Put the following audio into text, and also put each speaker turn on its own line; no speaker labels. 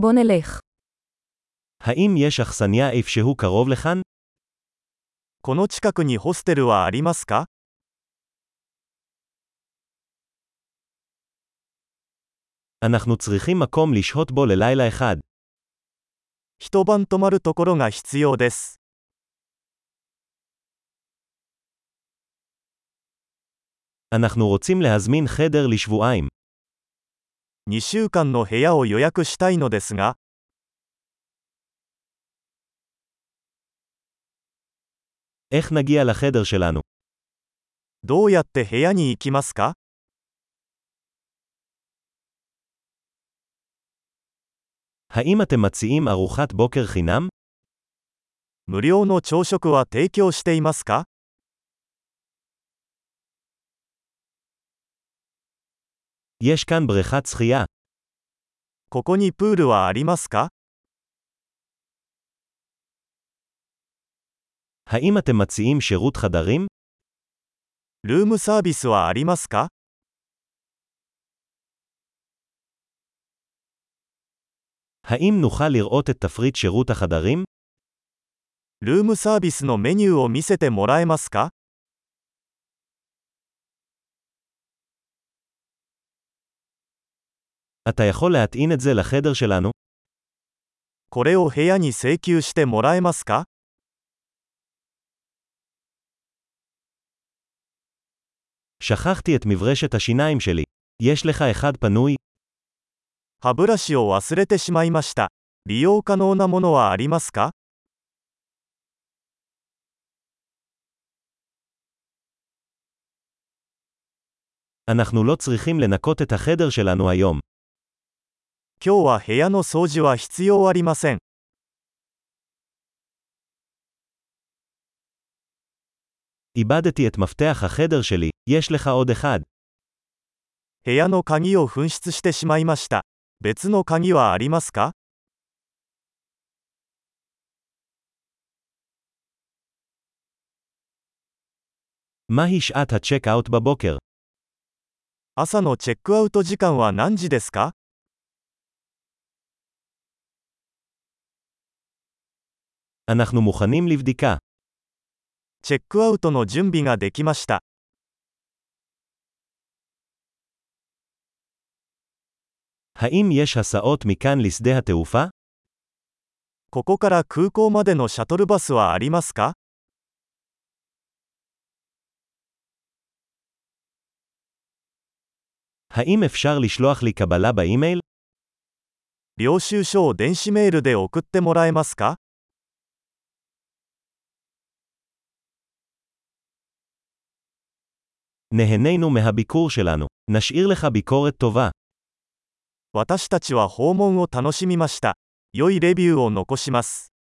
בוא נלך.
האם יש אכסניה איפשהו קרוב לכאן?
この近くにホステルはありますか
אנחנו צריכים מקום לשהות בו ללילה אחד.
一晩泊まるところが必要です。
אנחנו רוצים להזמין חדר לשבועיים.
2週間の部屋を予約したいのですが、
איך נגיע לחדר שלנו?
どうやって部屋に行きますか
האם אתם מציעים ארוחת בוקר חינם?
無料の朝食は提供していますか
יש כאן בריכת שחייה.
ここにプールはありますか
האם אתם מציעים שירות חדרים?
ルームサービスはありますか
האם נוכל לראות את תפריט שירות החדרים?
ルームサービスのメニューを見せてもらえますか
אתה יכול להטעין את זה לחדר שלנו?
これを部屋に請求してもらえますか
שכחתי את מברשת השיניים שלי. יש לך אחד פנוי?
歯ブラシを忘れてしまいました。利用可能なものはありますか
אנחנו לא צריכים לנקות את החדר שלנו היום.
今日は部屋の掃除は必要ありません。
איבדתי את מפתח החדר שלי, יש לך עוד אחד.
部屋の鍵を紛失してしまいました。別の鍵はありますか
מהי שעת הצ'ק-אאוט בבוקר?
朝のチェックアウト時間は何時ですか
אנחנו מוכנים לבדיקה.
チェックアウトの準備ができました。
האם יש הסעות מכאן לשדה התעופה?
ここから空港までのシャトルバスはありますか
האם אפשר לשלוח לי קבלה באימייל?
領収書を電子メールで送ってもらえますか
נהנינו מהביקור שלנו. נשאיר לך ביקורת טובה.
私たちは訪問を楽しみました。良いレビューを残します。